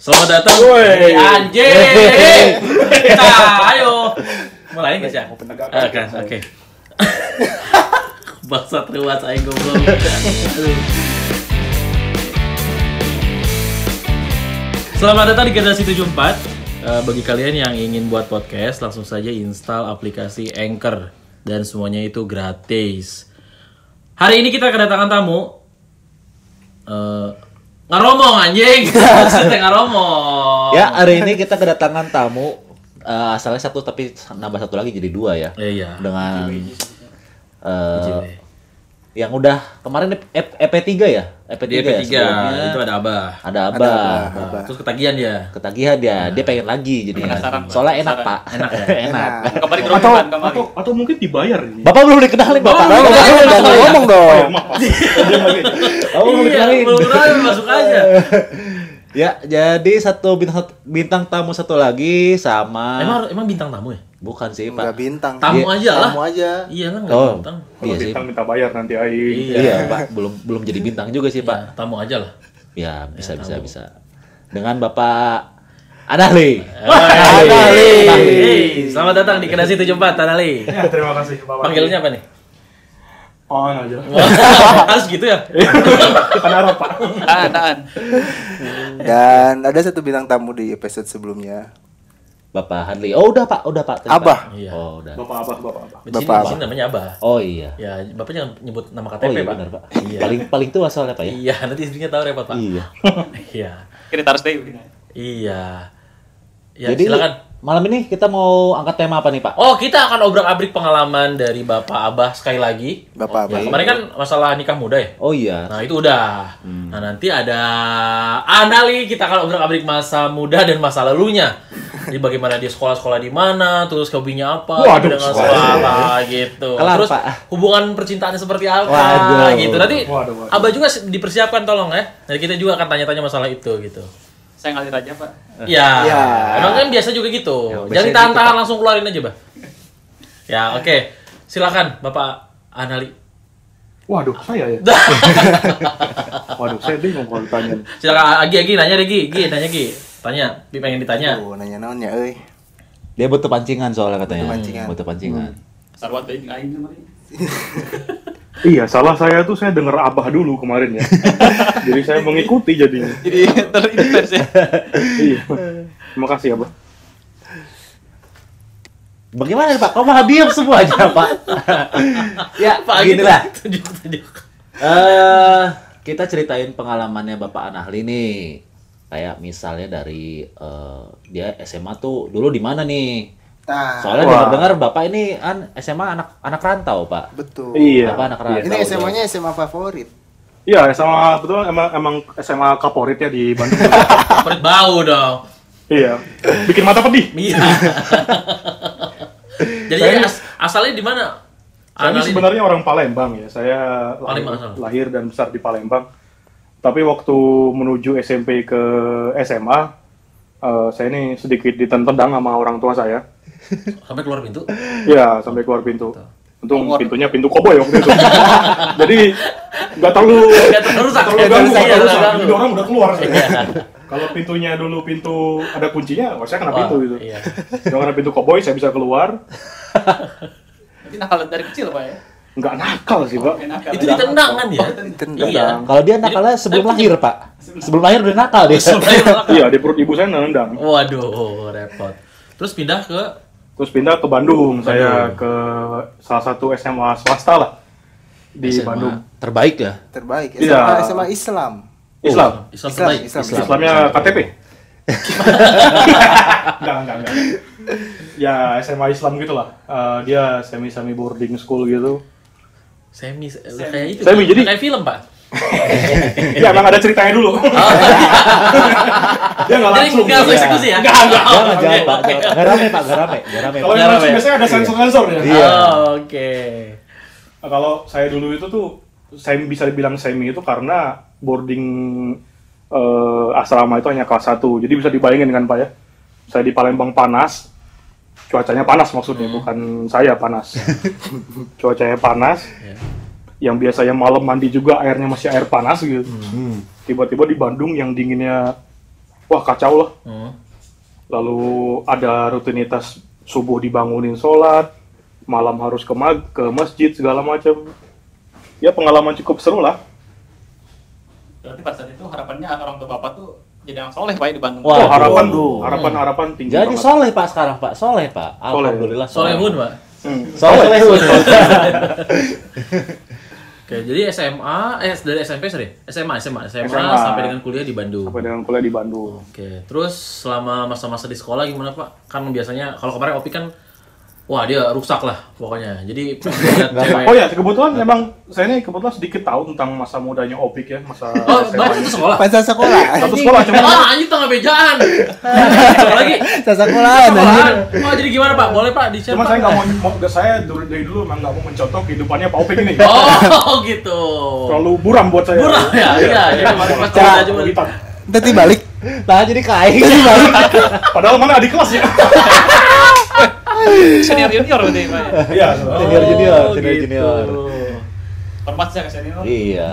Selamat datang. Woi. Hey, anjing. Kita ayo. Mulai enggak sih? Ah, kan, oke. Bangsat ruas aing goblok. Aduh. Selamat datang di generasi 74. Eh, bagi kalian yang ingin buat podcast, langsung saja install aplikasi Anchor dan semuanya itu gratis. Hari ini kita kedatangan tamu eh ngaromong anjing. Maksudnya ngaromong. Ya, hari ini kita kedatangan tamu eh, asalnya satu tapi nambah satu lagi jadi dua ya. Eh, Iya. Dengan eh, yang udah kemarin ep- EP3 ya? EP3, Di ya EP3 sebelumnya. itu ada Abah. ada Abah. Nah, Terus ketagihan dia. Ketagihan Nah. dia, dia pengen lagi jadi. Soalnya enak, Pak. Enak. enak. Kembali ke atau, rombongan kembali. atau Oh, atau mungkin dibayar ini. Bapak belum dikenalin, Bapak. Belum, Bapak belum, belum belum. ngomong Oh. dong. Bapak belum Iya, dikenalin. belum kenal, masuk aja. Ya, jadi satu bintang bintang tamu satu Emang lagi sama emang bintang tamu ya? bukan sih, Enggak Pak. bintang. Tamu Iya, aja lah. Tamu aja. Iya kan enggak Oh, bintang. iya Kalau sih. bintang minta bayar nanti aing. Iya. Iya, Pak. Belum belum jadi bintang juga sih, Ya, Pak. tamu aja lah. Iya. Ya, bisa bisa tahu. bisa. Dengan Bapak Anahli. Tanali. Anahli. Selamat datang di Kedasi 74, Tanali. Ya, terima kasih Bapak. Panggilannya apa nih? On aja. Harus gitu ya? Iya, Bukan Arab, Pak. Tahan, tahan. Hmm. Dan ada satu bintang tamu di episode sebelumnya. Bapak Hadli. Oh, udah Pak, udah Pak. Tadi, Abah. Pak. Iya. Oh, udah. Bapak Abah, Bapak Abah. Di sini, Bapak di sini namanya Abah. Oh iya. Ya, Bapak jangan nyebut nama Oh KTP, iya Pak. benar, Pak. Iya. Paling paling tua soalnya, Pak ya. Iya, nanti istrinya tahu repot, Pak. Iya. Iya. Kira harus deh. Iya. Ya, Jadi silakan. malam ini kita mau angkat tema apa nih, Pak? Oh, kita akan obrak-abrik pengalaman dari Bapak Abah sekali lagi. Bapak Ya, Abah. kemarin kan masalah nikah muda ya. Oh iya. Nah, itu udah. Hmm. Nah, nanti ada Anali, kita akan obrak-abrik masa muda dan masa lalunya. Jadi bagaimana dia sekolah-sekolah di mana, terus hobinya apa, Waduh, dengan sekolah. sekolah apa gitu. ya. Kelar, terus Pak. hubungan percintaannya seperti apa Waduh. gitu. Nanti Waduh, waduh. Abah juga dipersiapkan tolong ya. Nanti kita juga akan tanya-tanya masalah itu gitu. Saya ngalir aja, Pak. Ya, Ya. emang kan biasa juga gitu. biasanya Jangan tahan-tahan gitu, langsung keluarin aja, Bah. Ya, oke. Silakan Bapak Anali. Waduh, saya ya. Waduh, saya bingung kalau ditanya. Silakan Agi Agi nanya deh Gi, Gi nanya Gi. Tanya, Bi pengen ditanya. Oh, nanya naon ya, euy. Dia butuh pancingan soalnya katanya. Butuh pancingan. Hmm. Butuh pancingan. Sarwat deh, aing kemarin. Iya, salah saya tuh saya denger Abah dulu kemarin ya. Jadi saya mengikuti jadinya. Jadi terinfluence ya. Iya. Terima kasih Abah. Bagaimana nih, Pak? Kok malah diam semuanya, Pak? ya, Pak Agi gini lah. tunjuk- tunjuk. eh kita ceritain pengalamannya Bapak Anahli nih. Kayak misalnya dari eh, dia SMA tuh dulu di mana nih? Nah, Soalnya Wah. dengar-dengar Bapak ini an SMA anak anak rantau, Pak. betul. Iya. Bapak anak rantau. Ini tuh. SMA-nya SMA favorit. Iya, SMA betul emang emang SMA Kaporit ya di Bandung. Perut bau dong. iya. Bikin mata pedih. Iya. Jadi as- asalnya di mana? Saya ini Anali. sebenarnya orang Palembang ya. Saya lahir, Palembang, asal. lahir dan besar di Palembang. Tapi waktu menuju SMP ke SMA, eh, saya ini sedikit ditentang sama orang tua saya. Sampai keluar pintu. Ya, sampai keluar pintu. Untung Keluar. pintunya pintu koboi waktu itu. Jadi nggak terlalu Nggak terlalu rusak. terlalu Nggak ganggu, rusak, nggak iya, rusak. nggak Jadi ganggu. orang udah keluar. Kalau pintunya dulu pintu ada kuncinya, wah saya kena Wah, pintu gitu. iya. Kalau kena pintu koboi saya bisa keluar. Tapi nakal dari kecil, Pak ya. Nggak nakal sih, Pak. Enak Itu ditendang kan ya? Ditendang. Iya. Kalau dia nakalnya sebelum lahir, Pak. Sebelum lahir udah nakal dia. Iya, di perut ibu saya Oh, nendang. Waduh, repot. Terus pindah ke Terus pindah ke Bandung, saya ke salah satu SMA swasta lah di SMA. Bandung. Terbaik ya. Terbaik. SMA, Iya. SMA Islam. Islam. Oh, Islam Islam, terbaik. Islam. Islam. Islamnya KTP. enggak, enggak, enggak. Ya SMA Islam gitulah. Eh dia semi semi boarding school gitu. Semi, eh, kayak itu. Semi, jadi- kayak film, Pak. ya emang ada ceritanya dulu. dia nggak Jadi langsung. iya. nggak langsung eksekusi ya? Nggak, nggak. Jangan, oke, jangan, Pak. oke. Jangan. Nggak rame, Pak. Nggak rame. Nggak rame. Pak. Kalau yang Jarang langsung ya? biasanya ada sensor sensor ya. Iya. Oh, Oke. Nah, kalau saya dulu itu tuh semi bisa dibilang semi itu karena boarding eh, asrama itu hanya kelas 1. Jadi bisa dibayangin kan Pak ya. Saya di Palembang panas. Cuacanya panas maksudnya, bukan saya panas. cuacanya panas. Yang biasanya malam mandi juga airnya masih air panas gitu. Tiba-tiba di Bandung yang dinginnya wah kacau lah. Hmm. Lalu ada rutinitas subuh dibangunin sholat, malam harus ke, mag- ke masjid segala macam. Ya pengalaman cukup seru lah. Berarti pada saat itu harapannya orang tua bapak tuh jadi anak soleh pak ya di Bandung. Wah. Oh, harapan, Waduh. Hmm. harapan, harapan tinggi Jadi banget. soleh pak sekarang pak, soleh pak. Soleh. Alhamdulillah soleh. Solehun, Pak. Hmm. Soleh. Oke, jadi SMA, eh dari SMP sorry, SMA, SMA, SMA, SMA. sampai dengan kuliah di Bandung. Sampai dengan kuliah di Bandung. Oke, terus selama masa-masa di sekolah gimana Pak? Kan biasanya kalau kemarin Opi kan, wah dia rusak lah pokoknya. Jadi lihat cewek. Oh ya, kebetulan memang saya ini kebetulan sedikit tahu tentang masa mudanya Opik ya, masa Oh, Bapak SMA. satu sekolah. Pasal sekolah. Satu sekolah cuma Wah, Ah, anjing tengah bejaan. Apa lagi? Pasal sekolahan anjir. Sekolahan. Oh, jadi gimana Pak? Boleh Pak di-share cuma Pak? saya nggak mau, mau nggak- saya dari, dari dulu emang nggak mau mencontoh kehidupannya Pak Opik ini. Oh, gitu. Terlalu buram buat saya. Murah ya, iya. Jadi kemarin pas cerita aja boleh. Hitam. Nanti balik. Nah jadi kain. Padahal mana adik kelas ya? Senior junior berarti pak ya. Iya. Senior junior, Oh, senior junior. gitu. Hormatnya ke senior. Iya.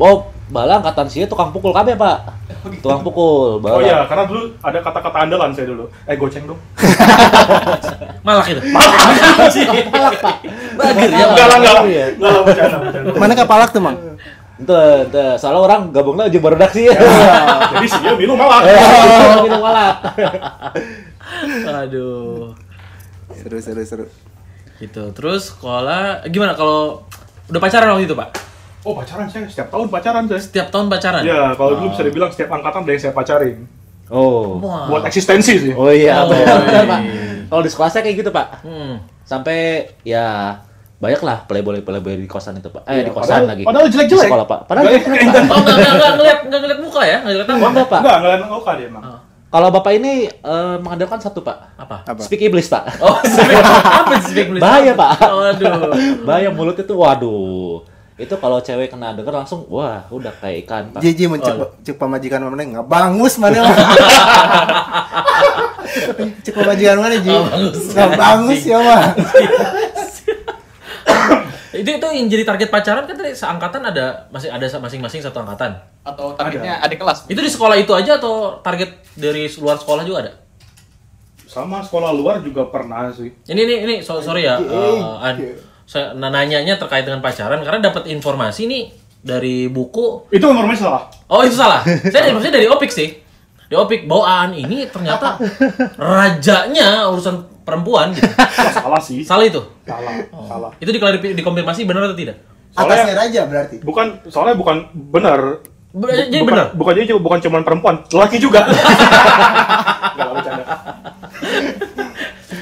Wow, bala angkatan sih tukang pukul kami pak. Tukang pukul, bala. Oh iya, karena dulu ada kata-kata andalan saya dulu. Eh goceng dong. Malak itu. Bagus ya. Enggak lah, enggak lah. Iya. Enggak lah, bercanda, bercanda. Mana kapalak tuh, Mang? Itu, itu. Soalnya orang gabungnya aja baru Iya. redaksi. Iya. Jadi sih dia minum malah. Oh, minum malah. Aduh. Seru seru seru. Gitu. Terus sekolah gimana kalau udah pacaran waktu itu, Pak? Oh pacaran saya, setiap tahun pacaran saya. Setiap tahun pacaran? Iya, kalau dulu bisa dibilang setiap angkatan ada yang saya pacarin. Oh. Wah. Buat eksistensi sih. Oh iya, Oh, benar, iya. benar, Pak. Kalau di sekolah saya kayak gitu, Pak. Hmm. Sampai ya banyak lah playboy playboy di kosan itu, Pak. Eh, Iya, di kosan padahal- lagi. padahal jelek-jelek. Di Sekolah, Pak. Padahal Jelek. jelek, Pak. Oh, nggak nggak nggak ngeliat nggak ngeliat muka ya? Nggak ngeliat apa? Enggak, Pak. Enggak, enggak enak dia emang. Oh. Kalau Bapak ini eh, mengandalkan satu, Pak. Apa? Apa? Speak iblis, Pak. Oh, speak apa sih speak English? Bahaya, Pak. Waduh. Bayang mulut itu waduh. Itu kalau cewek kena denger langsung wah, udah kayak ikan, Nah. Pak. JJ mencek Oh. cek pemajikan mana enggak bangus mana lah. cek pemajikan mana Ji? Nggak bangus. Nggak bangus ya mah. Itu itu yang jadi target pacaran kan tadi seangkatan ada masih ada masing-masing satu angkatan. Atau targetnya adik kelas. Itu di sekolah itu aja atau target dari luar sekolah juga ada? Sama sekolah luar juga pernah sih. Ini ini ini so- sorry ya. eh, An. Saya nah, nanyanya terkait dengan pacaran karena dapat informasi nih dari buku. Itu informasi salah. Oh, itu salah. Saya dari maksudnya dari Opik sih. Di Opik bawaan ini ternyata rajanya urusan perempuan gitu. Wah, salah sih. Salah Oh. itu. Salah, salah. Itu diklarifi- dikonfirmasi benar atau tidak? Atasnya Soalnya raja berarti. bukan soalnya bukan benar. Bu- jadi bukan, benar. Bukan jadi bukan cuma perempuan, laki juga. Enggak lah bercanda.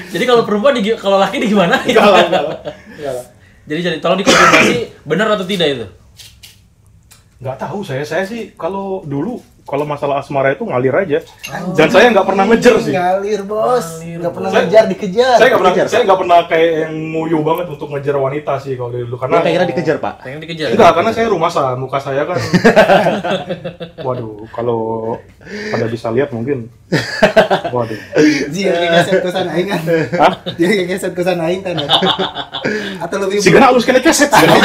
Jadi kalau perempuan di, kalau laki di gimana? Enggak lah, enggak lah. Enggak lah. jadi jadi tolong dikonfirmasi benar atau tidak itu. Nggak tahu saya, saya sih kalau dulu kalau masalah asmara itu ngalir aja. Dan saya nggak pernah ngejer sih. Ngalir, Bos. Ngalir, Nggak pernah Bos. ngejar dikejar. Saya nggak pernah, Dikejar. saya nggak pernah kayak yang nguyu banget untuk ngejar wanita sih kalau dari dulu karena Gua kayaknya dikejar, Pak. Pengen dikejar. Enggak, karena saya rumah saya, muka saya kan. Waduh, kalau pada bisa lihat mungkin. Waduh. Ji yang keset ke sana aing kan. Hah? Dia yang keset ke sana aing kan. Atau lebih Si Gena harus kena keset. si Gena.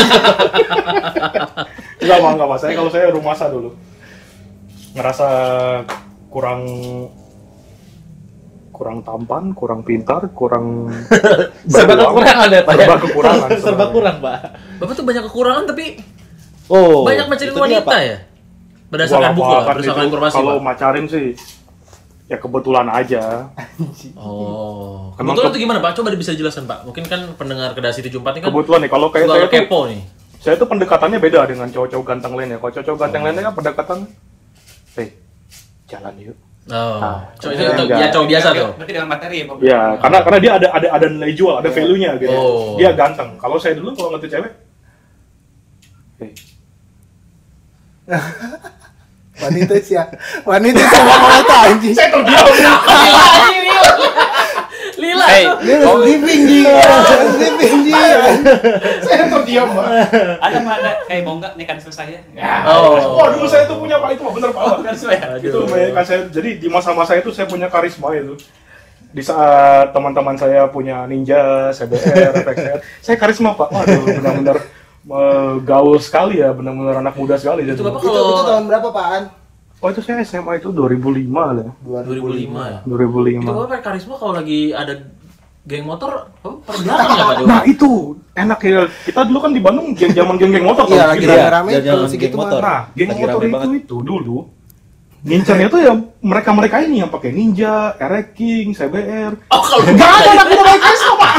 Enggak, Bang, enggak, Bang. Saya kalau saya rumah saya dulu. Ngerasa kurang kurang tampan, kurang pintar, kurang Serba berjuang. kekurangan ya, Pak. ya? Serba kekurangan. Serba kurang, Pak. Bapak tuh banyak kekurangan tapi Oh. banyak mencari mencari wanita ya. Berdasarkan buku lah, Walaupun berdasarkan itu, informasi. Kalau Pak. macarin sih ya kebetulan aja. Oh. Emang Kebetulan ke- itu gimana, Pak? Coba bisa dijelaskan, Pak. Mungkin kan pendengar Kedasi 74 ini kan Kebetulan nih kalau kayak saya suka tuh- kepo nih. saya tuh pendekatannya beda dengan cowok-cowok ganteng lainnya. Kalau cowok-cowok ganteng lainnya kan pendekatan, eh jalan yuk. Oh. Ah, Cowok itu kebetulan itu enggak. ya cowok biasa tuh. Berarti dengan materi ya pak. Ya, karena karena dia ada ada ada nilai jual, ada value-nya gitu. Oh. Dia ganteng. Kalau saya dulu kalau ngerti cewek, eh wanita sih ya. Wanita sama wanita anjing. saya terdiam. Lila anjing, Lila. Lila. Hey, tuh. Dia Oh. harus living Ji. Harus living Ji. saya terdiam. Pak. Ada mah ada kayak mau nggak nih kansel saya? Ya. Oh. Wah dulu saya tuh punya pak itu Pak. bener Oh, kan. Gitu, pak. Kansel ya. Aduh. itu mereka saya jadi di masa-masa itu saya punya karisma itu. Di saat teman-teman saya punya ninja, CBR, FXR, saya karisma pak. Waduh, benar-benar eh, gaul sekali ya, benar-benar anak muda sekali. Itu jadi. Bapak Itu itu kalau tahun berapa, Pak An? Oh itu saya SMA itu 2005 lah ya. 2005 ya. 2005. Itu kan karisma kalau lagi ada geng motor, oh, per belakang ya Pak Dewa? Nah itu enak ya. Kita dulu kan di Bandung geng zaman geng geng motor. Iya, tau. lagi Iya, Kita- rame-rame gitu, itu jalan-jalan segitu geng mah. motor. Nah, geng Lagi motor rame itu banget. itu dulu ngincernya tuh ya mereka-mereka ini yang pakai Ninja, RX King, CBR. Oh kalau Gak ada anak muda baik Krisma, Pak.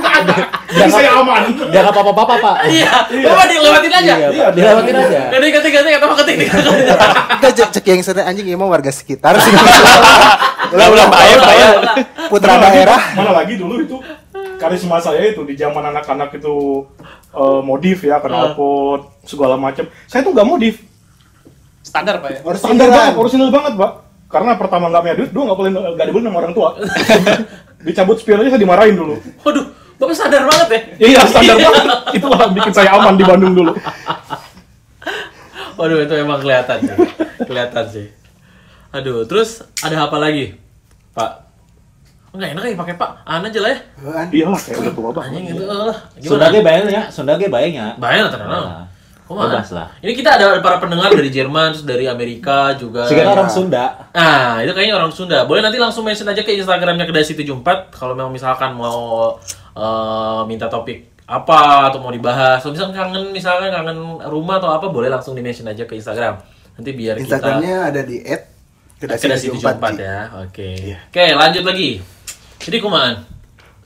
Gak ada. Jadi saya aman. Jangan apa-apa, Pak. iya, bapak dilewatin aja. Iya, Pak. dilewatin aja. Ketik ketik ketik atau ketik ketik. Kita cek, cek yang sana anjing ya mau warga sekitar sih. Ulah ulah bahaya ya. bahaya. Putra Mana lagi- daerah. Mana lagi dulu itu karisma saya itu di zaman anak-anak itu eh, modif ya, knalpot segala macam. Saya tuh gak modif. Standar Pak ya. Standar Orsinil. banget, orisinil banget, Pak. Karena pertama nggak punya duit, dua nggak boleh nggak dibeli sama orang tua. Dicabut spion aja saya dimarahin dulu. Waduh, bapak sadar banget ya. Iya, standar banget. Itulah yang bikin saya aman di Bandung dulu. Waduh itu emang kelihatan sih. kelihatan sih. Aduh, terus ada apa lagi? Pak. Enggak enak ya pakai Pak. An aja lah ya. Iyalah, kayak udah tua banget. iya. Anjing itu eh, lah. Sunda Gimana? ge bayang ya, Sunda ge bayang ya. Bahaya lah terkenal. Nah, Kok mana? bebas lah. Ini kita ada para pendengar dari Jerman, terus dari Amerika juga. Sekitar orang Sunda. Nah, itu kayaknya orang Sunda. Boleh nanti langsung mention aja ke Instagramnya Kedai Situ Jumpat kalau memang misalkan mau eh, minta topik apa atau mau dibahas. Kalau misalkan kangen misalkan kangen rumah atau apa boleh langsung di-mention aja ke Instagram. Nanti biar Instagramnya ada di at kita Kedai Situ Jumpat ya. Oke. Oke, lanjut lagi. Jadi kumaan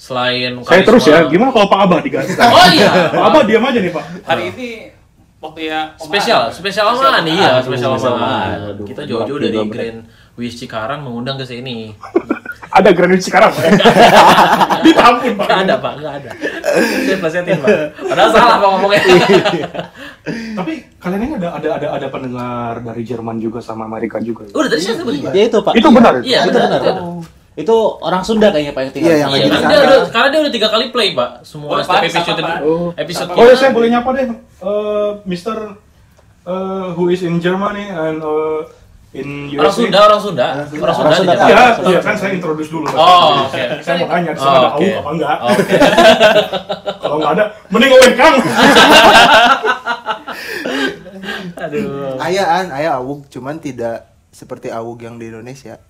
selain Saya karisma- terus ya, gimana kalau Pak Abah diganti? Oh iya. Pak Abah diam aja nih, Pak. Hari ini waktu ya omahan. Spesial, spesial omahan iya, spesial omahan. spesial omahan. Aduh, Kita jauh-jauh berat dari juga, berat. Grand Wish Cikarang mengundang ke sini. Ada Granit sekarang, Pak. Ditampun, Pak. Gak ada pak, gak ada. Saya plesetin pak. Padahal salah pak ngomongnya. Tapi kalian ini ada ada ada ada pendengar dari Jerman juga sama Amerika juga. ya? Udah tadi saya sebutin pak. Ya itu, Pak. Itu benar itu? Iya, itu ada, benar. ada. Itu orang Sunda kayaknya Pak yang tinggal. Iya, di yang Iya, sini. lagi karena di dia sana. udah, karena dia udah tiga kali play pak. Semua Boleh, setiap Pak, episode sama, Pak. Oh. episode Oh ya kita. saya boleh nyapa deh, Eh, Mister eh, who is in Germany and eh, in USA. Orang Sunda, orang Sunda, orang Sunda, Sunda, di Pak. Jakarta. Iya, iya kan saya introduce dulu. Pak. Oh, oke. Saya mau nanya, di Oh, sana ada oke. AU apa enggak? Oke. Kalau nggak ada, mending gue kang. Iya. Aduh. Ayaan, ayah awug cuman tidak seperti awug yang di Indonesia.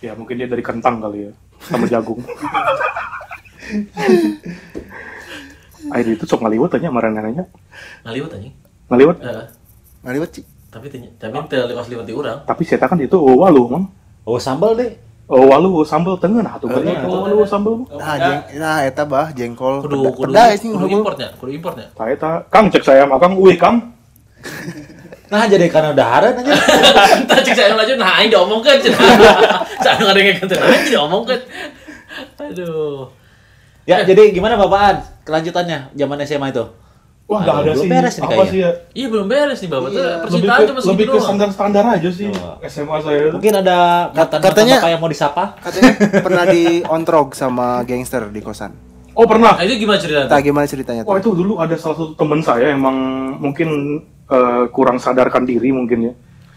Ya mungkin dia dari kentang kali ya, sama jagung. Air itu sok ngaliwat aja sama neneknya. Ngaliwat anjing. Ngaliwat. Heeh. Ngaliwat Ci. Tapi tanya- tapi teu lepas liwat di urang. Tapi saya kan itu oh, walu, mang. Oh, sambal deh. Oh, walu oh, sambal tengen atuh kan. Eh, Oh, walu oh, sambal. Mang. Nah, jeng, nah eta bah Oh, jengkol. Kudu peda- kudu pedas nih kudu ngomong. importnya, kudu importnya. Saya tak, Kang cek saya sama Kang, wih Kang, Nah, jadi karena daharan aja. Tadi saya lanjut nah aing diomongkeun. cenah. Saya ada ngekenteun nah, aing diomongkeun. Aduh. ya, jadi gimana Bapaan? Kelanjutannya zaman SMA itu. wah Aduh, nggak ada belum sih, beres nih apa kayaknya. sih ya? Iya belum beres nih Bapak. Tuh, Iya. Lebih Percintaan ke, cuma lebih segitu ke doang. Oh. standar-standar aja sih Iya. SMA saya. itu. Mungkin ada mantan katanya- Bapak yang mau disapa? Katanya pernah di ontrog sama gangster di kosan. Oh pernah, Nah, itu gimana ceritanya? Entah gimana ceritanya Wah itu tuh. dulu ada salah satu teman saya emang mungkin eh, kurang sadarkan diri mungkin ya.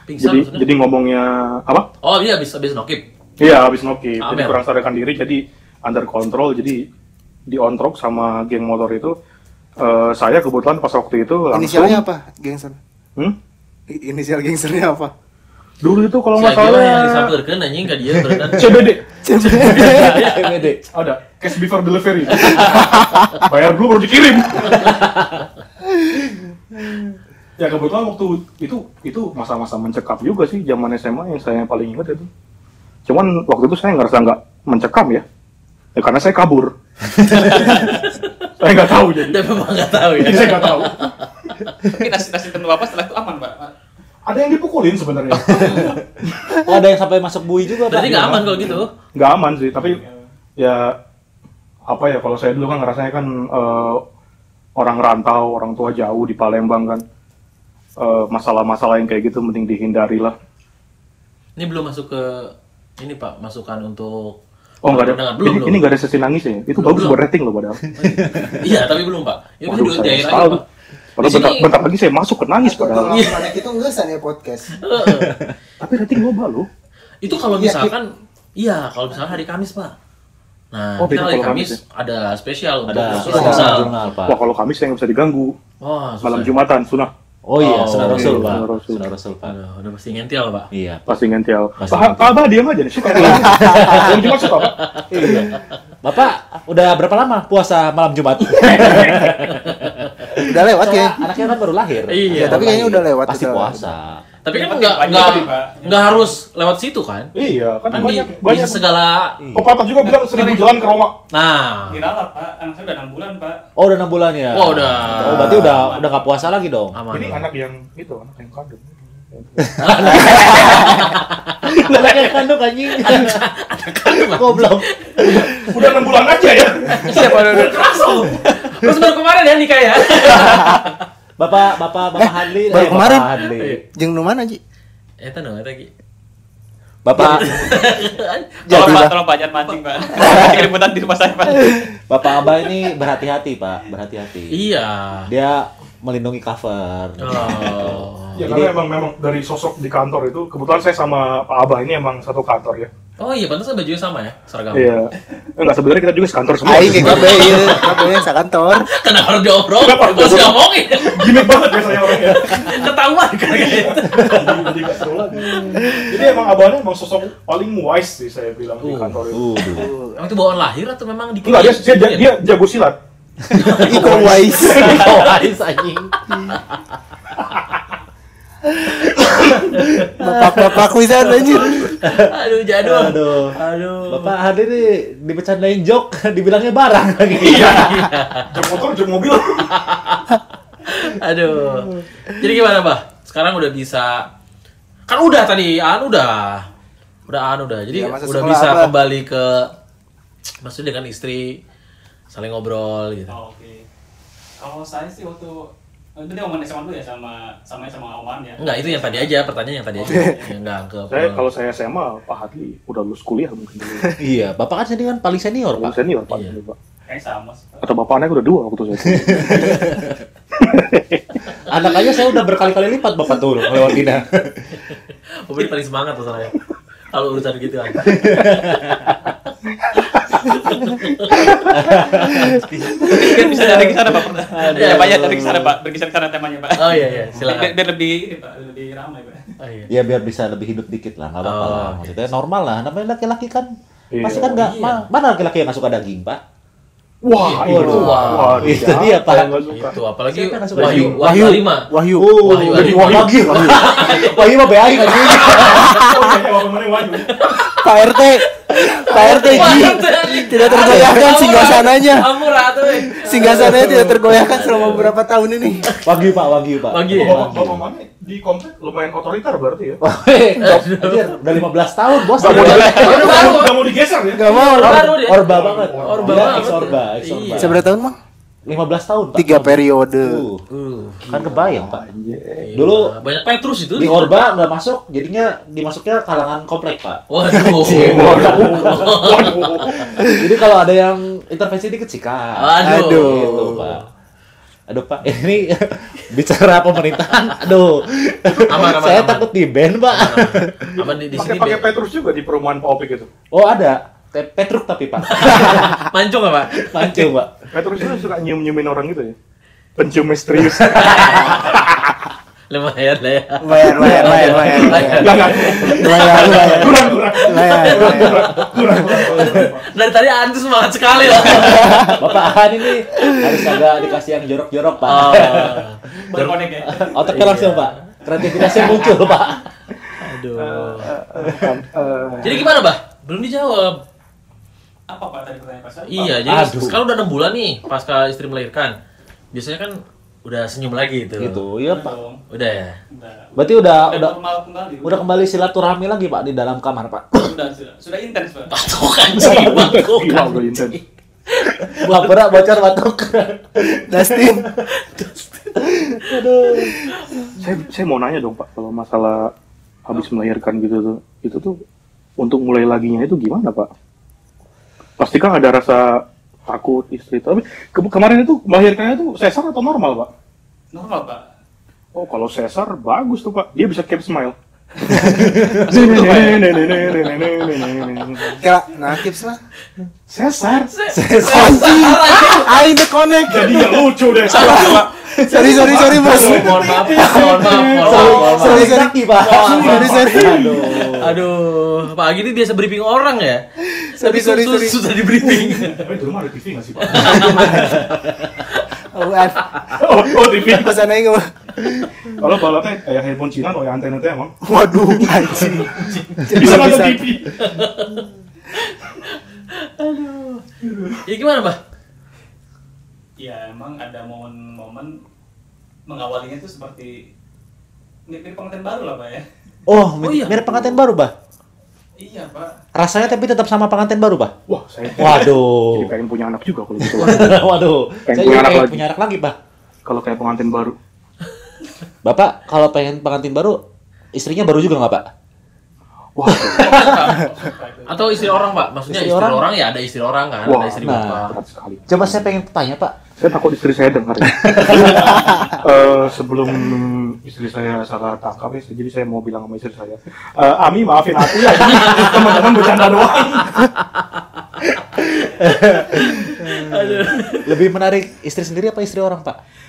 Pingsan jadi maksudnya? jadi ngomongnya apa? Oh iya habis habis nokip. Iya habis ngopi. Amer. Jadi kurang sadarkan diri jadi under control jadi diontrok sama geng motor itu. Eh, saya kebetulan pas waktu itu langsung. Inisialnya apa? Gangster. Hmm? I- Inisial gangsternya apa? Dulu itu kalau nggak Saya kira yang salah disamperkeun anjing ka dia beneran. CBD Iya. Iya, CBD. ada cash before delivery. Bayar dulu baru dikirim. ya kebetulan waktu itu itu masa-masa mencekam juga sih zaman SMA yang saya paling ingat itu. Cuman waktu itu saya ngerasa nggak mencekam ya. Ya karena saya kabur. saya nggak tahu jadi. Dia memang nggak tahu ya. Jadi saya nggak tahu. Tapi nasi nasi tentu apa setelah itu aman Pak. Ada yang dipukulin sebenarnya. Oh, ada yang sampai masuk bui juga, Pak. Berarti nggak aman kalau gitu. nggak aman sih tapi ya apa ya kalau saya dulu kan ngerasanya kan eh, orang rantau orang tua jauh di Palembang kan Eh, masalah-masalah yang kayak gitu mending dihindari lah Ini belum masuk ke ini Pak masukan untuk oh nggak Pendengar. Nah, ada Belum, ini, belum. ini nggak ada sesi nangis ya itu Belum, bagus belum. buat rating loh padahal Iya tapi belum Pak. Ini waduh bisa saya diair aja sekali Pak. Di padahal sini- bentar, bentar lagi saya masuk ke nangis padahal itu enggak ya podcast. tapi rating loba loh Itu kalau Iya, misalkan iya kalau misalkan hari Kamis Pak. Nah, Oh, kita beda hari kalau Kamis Kamis ada spesial untuk Ada surat ada misal. jurnal, Pak. wah kalau kami saya nggak bisa diganggu Wah, susah. malam Jumatan sunah Oh Oh, iya, Sunan oke. Rasul, Pak. Sunan Rasul. Sunan Rasul, Pak. Aduh, udah pasti ngential pak. Iya. Pasti ngential. Pasti Pak, ngential. Abah diam aja nih, suka lu. Yang cuma suka, Pak. Bapak, udah berapa lama puasa malam Jumat? Udah lewat ya. Soalnya Anaknya kan baru lahir. Iya, Baru tapi kayaknya lahir. udah lewat Pasti itu. puasa. Tapi Yang kan penting nggak banyak nggak tadi, Pak. nggak harus lewat situ kan? Iya, kan Kan di, banyak. bisa Banyak. segala. Oh, patah juga bilang seribu jalan ke Roma. Nah, Dirawat pak, anak saya udah enam bulan pak. Oh, udah 6 bulan ya. Wah, udah. Oh, berarti udah udah nggak puasa lagi dong. aman. Ini anak yang itu, anak yang kandung. Anaknya kandung anjing. Goblok. Udah enam bulan aja ya. Siapa udah Terus baru kemarin ya nikah ya? Bapak, bapak, bapak Hadli. baru eh, kemarin. Bapak Hadli. Iya. Jeung nu mana, Ji? Eta dong, eta ki. Bapak, Tolong Jadilah. pak, tolong pak, jangan mancing pak. Keributan di rumah saya pak. bapak Abah ini berhati-hati, Pak. Berhati-hati. Iya. Dia melindungi cover. Oh. Ya karena emang memang dari sosok di kantor itu kebetulan saya sama Pak Abah ini emang satu kantor ya. Oh iya, pantas bajunya sama ya, seragam. Iya. Enggak sebenarnya kita juga sekantor semua. Aing ge kabeh iya. ieu, kabeh sakantor. Kenapa harus diobrol? Kenapa harus Terus diobrol? ngomongin. Gimik banget biasanya orangnya. Ketahuan kan kayak gitu. Jadi jadi nggak seru lagi. Jadi emang abahnya emang sosok paling wise sih saya bilang di Uh, kantor itu. Waduh. Emang itu bawaan lahir atau memang di ya? Enggak, dia, dia, dia, dia jago silat. Iko wise. Kau Haris anjing. Bapak-bapak wisan anjir. Aduh, jadul. Aduh. Aduh. Bapak Hadli ini dibecandain jok, dibilangnya barang lagi. Jam motor, jam mobil. Aduh. Jadi gimana, Bah? Sekarang udah bisa kan udah tadi an udah. Udah an udah. Jadi Ya, masa udah sekolah bisa apa? kembali ke maksudnya dengan istri saling ngobrol gitu. Oh, Oke. Kalau saya sih waktu itu dia ngomongin sama dulu ya sama sama sama Oman ya. Enggak, itu yang tadi aja, pertanyaan yang tadi aja. Yang enggak ke Saya kalau saya SMA, Pak Hadli udah lulus kuliah mungkin dulu. Iya, Bapak kan sendiri kan paling senior, Lulus Pak. senior Pak. Iya. Hadli, Pak. Kayaknya sama sih. Pak. Atau bapak anaknya udah dua waktu saya. Anak aja saya udah berkali-kali lipat Bapak tuh ngelewatinnya. Mobil paling semangat tuh soalnya. Kalau urusan gitu kan. Biar bisa dari ke sana pak. pernah. Ya banyak dari ke sana pak, bergeser ke sana temanya pak. Oh iya iya, Biar, silakan. biar lebih ini pak, lebih ramai pak. Oh iya. Ya biar bisa lebih hidup dikit lah, nggak apa-apa Oh, lah. oke. Maksudnya normal lah, namanya laki-laki kan. Iya. Pasti kan nggak, Iya. ma- mana laki-laki yang nggak suka daging, Pak? Wah, itu. Waduh. Wah, Itu dia, Pak. saya nggak suka. Itu apalagi Siapa yang suka Wahyu daging? Oh, Wahyu lima. Wahyu. Wahyu, Jadi Wahyu, Wahyu, Wahyu, mah beaing anjing. Oh, iya, Wahyu, Wahyu. Pak RT. Pak RT Eh, Ji. iya. Tidak tergoyahkan singgasananya. Amura tuh. eh. Singgasananya tidak tergoyahkan selama beberapa tahun ini. Wagyu, Pak, Wagyu, Pak. Wagyu ya? Bapak- Bapak mana di komplek lumayan otoriter berarti ya. Weh, Eh, anjir, udah 15 tahun, Bos. Gak mau, Orba, udah mau- udah mau digeser ya. Gak mau lah. Baru dia. orba banget. Iya, Orba Dia banget. ex-orba, ex-orba. Iya. Seberapa tahun, Mang? 15 tahun, Pak. Tiga periode. Uh, Uh, kan kebayang, Pak. gila. Dulu banyak Petrus itu. di Orba nggak masuk, jadinya dimasuknya kalangan komplek, Pak. Waduh. Jadi kalau ada yang intervensi dikit sikat. Aduh. Gitu, Pak. Aduh Pak, ini bicara pemerintahan, aduh, Aman, aman, saya aman. takut di ban Pak. Aman di, di Pakai sini. pakai Be. Petrus juga di perumahan Pak Opik itu. Oh ada, Te- Petruk tapi Pak, Mancung Ah, apa? mancung Pak. Petrus itu suka nyium-nyiumin orang gitu ya. Pencium misterius. Lumayan lah ya. Lumayan, lumayan, lumayan, lumayan. lumayan. Enggak, enggak. Lumayan, lumayan. Kurang, kurang. Lumayan, lumayan. Kurang, kurang, kurang. Dari tadi Antu semangat sekali loh. Bapak Aan ini harus agak dikasih yang jorok-jorok Pak. Oh. Berkonek iya. ya. Otaknya langsung Pak, kreativitasnya muncul Pak. Aduh. Eh, Jadi gimana, Bah? Belum dijawab. Apa pak tadi pertanyaan pak saya? Iya, jadi Aduh. sekarang udah 6 bulan nih pasca istri melahirkan. Biasanya kan udah senyum lagi itu. Gitu, ya Pak. Dong. Udah ya. Udah. Berarti udah udah Udah normal kembali. udah kembali silaturahmi lagi Pak di dalam kamar Pak. Sudah, sudah, sudah intens pak. Patokan sih, Gila, patokan. gue intens. Bapak bocor batuk. Dustin. Saya, saya mau nanya dong Pak, kalau masalah habis melahirkan gitu tuh, itu tuh untuk mulai laginya itu gimana Pak? Pasti kan ada rasa takut istri itu. Tapi ke- kemarin itu melahirkannya tuh sesar atau normal Pak? Normal pak. Oh kalau sesar bagus tuh Pak, dia bisa cap smile. ya? Kela, nah kips lah. sesar. Sesar. Aing the connect. Jadi nggak lucu deh. Salah, Pak. Sorry, sorry, sorry, bos. Mohon maaf, Pak. mohon maaf, mohon maaf, mohon maaf. Sorry, sorry. Oh, Pak. Sorry, sorry. Aduh, Pak Agi ini biasa briefing orang ya? Tapi Sorry, sorry, sus- sorry. susah di briefing. Tapi di rumah ada TV nggak sih, Pak? Apaan? oh, oh, TV. Pesan aja nggak, Bang? Kalau balapnya kayak handphone Cina, kalau yang antena itu emang. Waduh, anjing. Bisa nonton Bisa. TV. Ya gimana, Pak? ya emang ada momen-momen mengawalinya itu seperti mirip pengantin baru lah pak ya Oh, Oh, iya. mirip pengantin baru, Bah. iya pak Rasanya tapi tetap sama pengantin baru, Bah. Wah, saya jadi Waduh. pengen punya anak juga kalau gitu. Waduh. Saya Pengen punya juga anak pengen lagi. punya anak lagi, Bah. kalau kayak pengantin baru. Bapak, kalau pengen pengantin baru, istrinya baru juga nggak, Pak? Wah, Atau istri orang, Pak? Maksudnya istri, Istri orang? orang? ya ada istri orang kan, Wah, ada istri nah. bapak. berat sekali. Coba saya pengen tanya, Pak. Saya takut istri saya dengar. Eh, sebelum istri saya salah tangkap ya, jadi saya mau bilang sama istri saya, Eh, Ami maafin aku ya, ini teman-teman bercanda doang. Lebih menarik istri sendiri apa istri orang, Pak?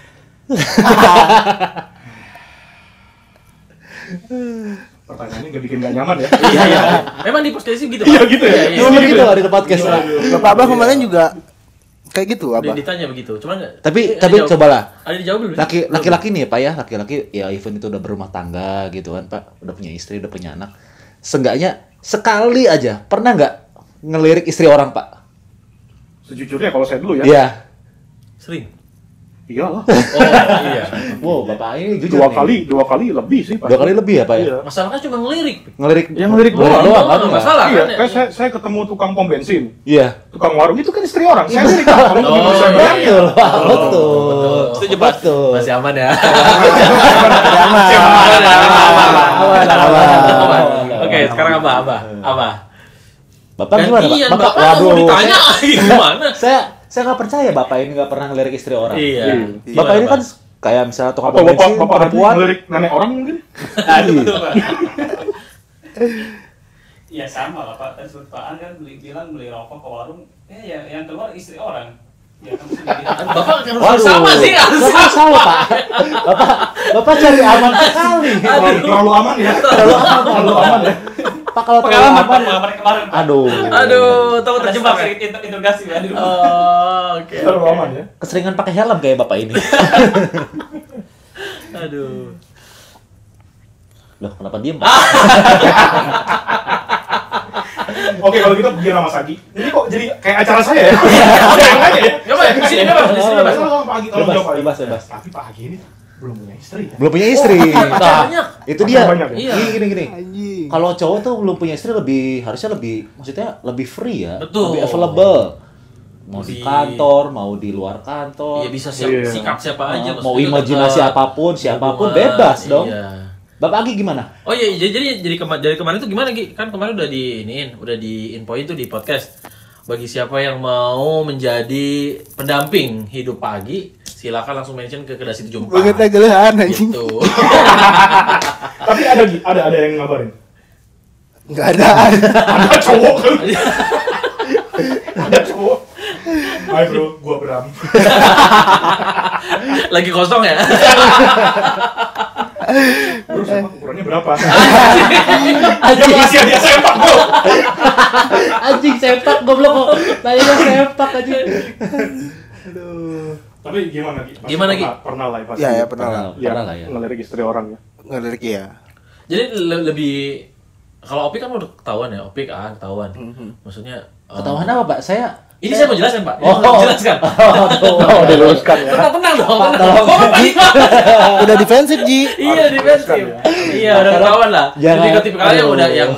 Pertanyaannya gak bikin gak nyaman ya? Iya, iya. Memang di podcast gitu, Pak. Iya gitu ya. Iya, Cuma iya. begitu Pak, di podcast, Pak. Bapak Abah kemarin juga kayak gitu, Dia Abah. ditanya begitu. Cuman nggak- Tapi ada tapi jawab- cobalah. Ada dijawab dulu. Laki laki-laki nih, Pak ya. Laki-laki ya event itu udah berumah tangga gitu kan, Pak. Udah punya istri, udah punya anak. Seenggaknya sekali aja pernah nggak ngelirik istri orang, Pak? Sejujurnya kalau saya dulu ya, Iya. Sering. Oh, iyalah. iya. Wow, Bapak ini jujur Dua nih. kali, dua kali lebih sih. pasti. Iya. Dua kali lebih ya, Pak ya? Iya. Masalahnya cuma ngelirik. Ngelirik. Ya, ngelirik ngelirik doang, doang, doang, kan, nggak Pak? masalah. Iya, kan ya? kayak saya, saya ketemu tukang pom bensin, Iya. tukang warung itu kan istri orang. Saya sendiri kan Oh, orang oh, saya iya. berani. Betul, Pak. Betul. Setuju, Pak. Betul. Masih aman ya. Drama. Aman, aman, aman, Aman, aman. aman. Oke, sekarang apa? Apa? Apa? Bapak gimana, Pak? Gantian, Bapak, Bapak nggak mau waduh. ditanya gimana? Saya saya nggak percaya Bapak ini nggak pernah ngelirik istri orang. Iya. Bapak ini kan kayak misalnya tukang Atau bapak bensin, bapak nanti perempuan. ngelirik nenek orang mungkin? aduh betul pak ya sama lah pak tadi sebut Pak An kan beli, bilang beli rokok ke warung eh ya yang keluar istri orang ya kan sendiri. Bapak harus sama sih, harus Bapak kan sama. salah, Pak. Bapak, Bapak cari aman sekali. Terlalu terlalu aman ya. Terlalu aman, terlalu aman ya. Pak kalau terlalu pengalaman aman, pak pengalaman yang kemarin pak aduh. Aduh, tahu ada terjebak terjebak ya. interogasi pak di rumah Oh, oke. Terlalu aman ya. Keseringan pakai helm kayak Bapak ini. Aduh. Loh, kenapa diem, Pak? Oke kalau gitu biar sama Sagi. Ini kok jadi kayak acara saya Iya. ya? Ada yang nanya ya? Coba di sini bebas, di sini bebas. Tolong sama Pak Agi, tolong Bebas, jawab Pak Agi. bebas, bebas. Tapi Pak Agi ini belum punya istri ya? Belum punya istri. Nah, banyak. itu dia. Banyak ya? Gini, gini, gini. Anjing. Kalau cowok tuh belum punya istri lebih harusnya lebih maksudnya lebih free ya, Betul. lebih available. Mau di Lebih- kantor, mau di luar kantor. Ya bisa siap, Iya. sikap siapa aja Ah, mau maksudnya imajinasi tetap apapun, siapapun hubungan, bebas dong. Iya. Bapak Agi gimana? Oh iya, jadi jadi, jadi kema- dari kemarin tuh gimana Gi? Kan kemarin udah diiniin, udah diinfoin tuh di podcast. Bagi siapa yang mau menjadi pendamping hidup pagi, silakan langsung mention ke kedai situ jumpa. Banget gelehan anjing. Gitu. Tapi ada Gi, ada ada yang ngabarin. Enggak ada. Ada cowok. kan? Ada cowok. Hai bro, gua Bram. Lagi kosong ya? Terus emang ukurannya berapa? Dia Iya. masih dia sempak bro. Anjing sepak goblok. Tanya sepak aja. Tapi gimana Gi? Pasti Gimana, Gi? pernah- Pernah lah ya pasti. Ya, ya pernah lah. Pernah, pernah lah ya. Ngelirik istri orang ya. Ngelirik ya. Jadi le- lebih kalau Opik kan udah ketahuan ya, Opik ah ketahuan. Mhm. Maksudnya eh, Ketahuan apa, Pak? Saya Ini saya mau jelaskan, Pak. Ini Oh. saya mau jelaskan. Oh, diluruskan ya. Tenang, tenang dong. Pak, tenang. tolong. Kok Bapak ini- Udah defensif, Ji. Iya defensif. ya. Iya udah Kalau- ketahuan lah. Jangan. Jadi tipikalnya yang Aduh. udah yang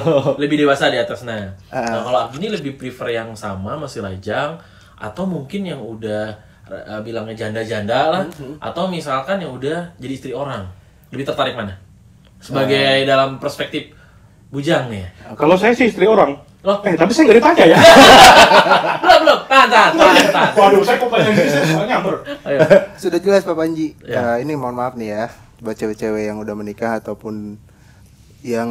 lebih dewasa di atas nah. Ah. Nah kalau aku ini lebih prefer yang sama masih lajang atau mungkin yang udah eh, bilangnya janda-janda lah atau misalkan yang udah jadi istri orang. Lebih tertarik mana? Sebagai dalam perspektif bujang nih. ya. Kalau saya sih istri orang. Loh. Eh, tapi saya nggak ditanya ya. Belum belum. Tahan tahan tahan. tahan. Waduh, saya kok tanya gini, saya soalnya nyamber. Ayo. Sudah jelas Pak Panji. Ya. Ya, ini mohon maaf nih ya buat cewek-cewek yang udah menikah ataupun yang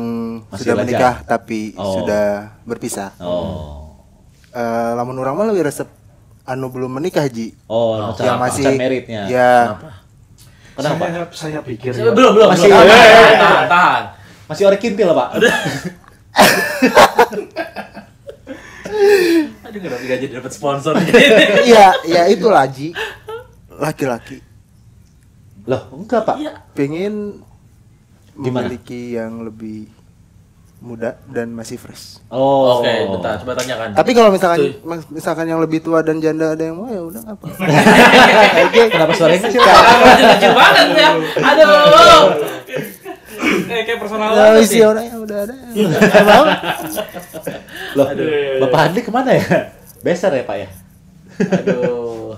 Masih sudah lajang. menikah tapi Oh. sudah berpisah. Oh. Eh, lamun orang mah lebih resep anu belum menikah Ji. Oh, yang masih meritnya. Ya. Kenapa? Saya, saya pikir ya. Belum, belum. Masih- belum. Eh, eh, Tahan, eh, tahan, tahan. Masih ori kintil, Pak. Aduh, kenapa tidak jadi dapat sponsor? Iya, ya itu laji. Laki-laki Loh, enggak, Pak. Iya. pengen Gimana? memiliki yang lebih muda dan masih fresh. Oh. Oke, bentar. Coba tanyakan. Tapi kalau misalkan Cuy. mas- misalkan yang lebih tua dan janda ada yang mau ya udah apa. Kenapa suaranya kecil? lucu banget ya. Aduh. Eh, kayak personal Kalau banget isi sih. orangnya udah ada. Nggak mau. Loh, Aduh. Bapak Andi kemana ya? Besar ya, Pak ya? Aduh.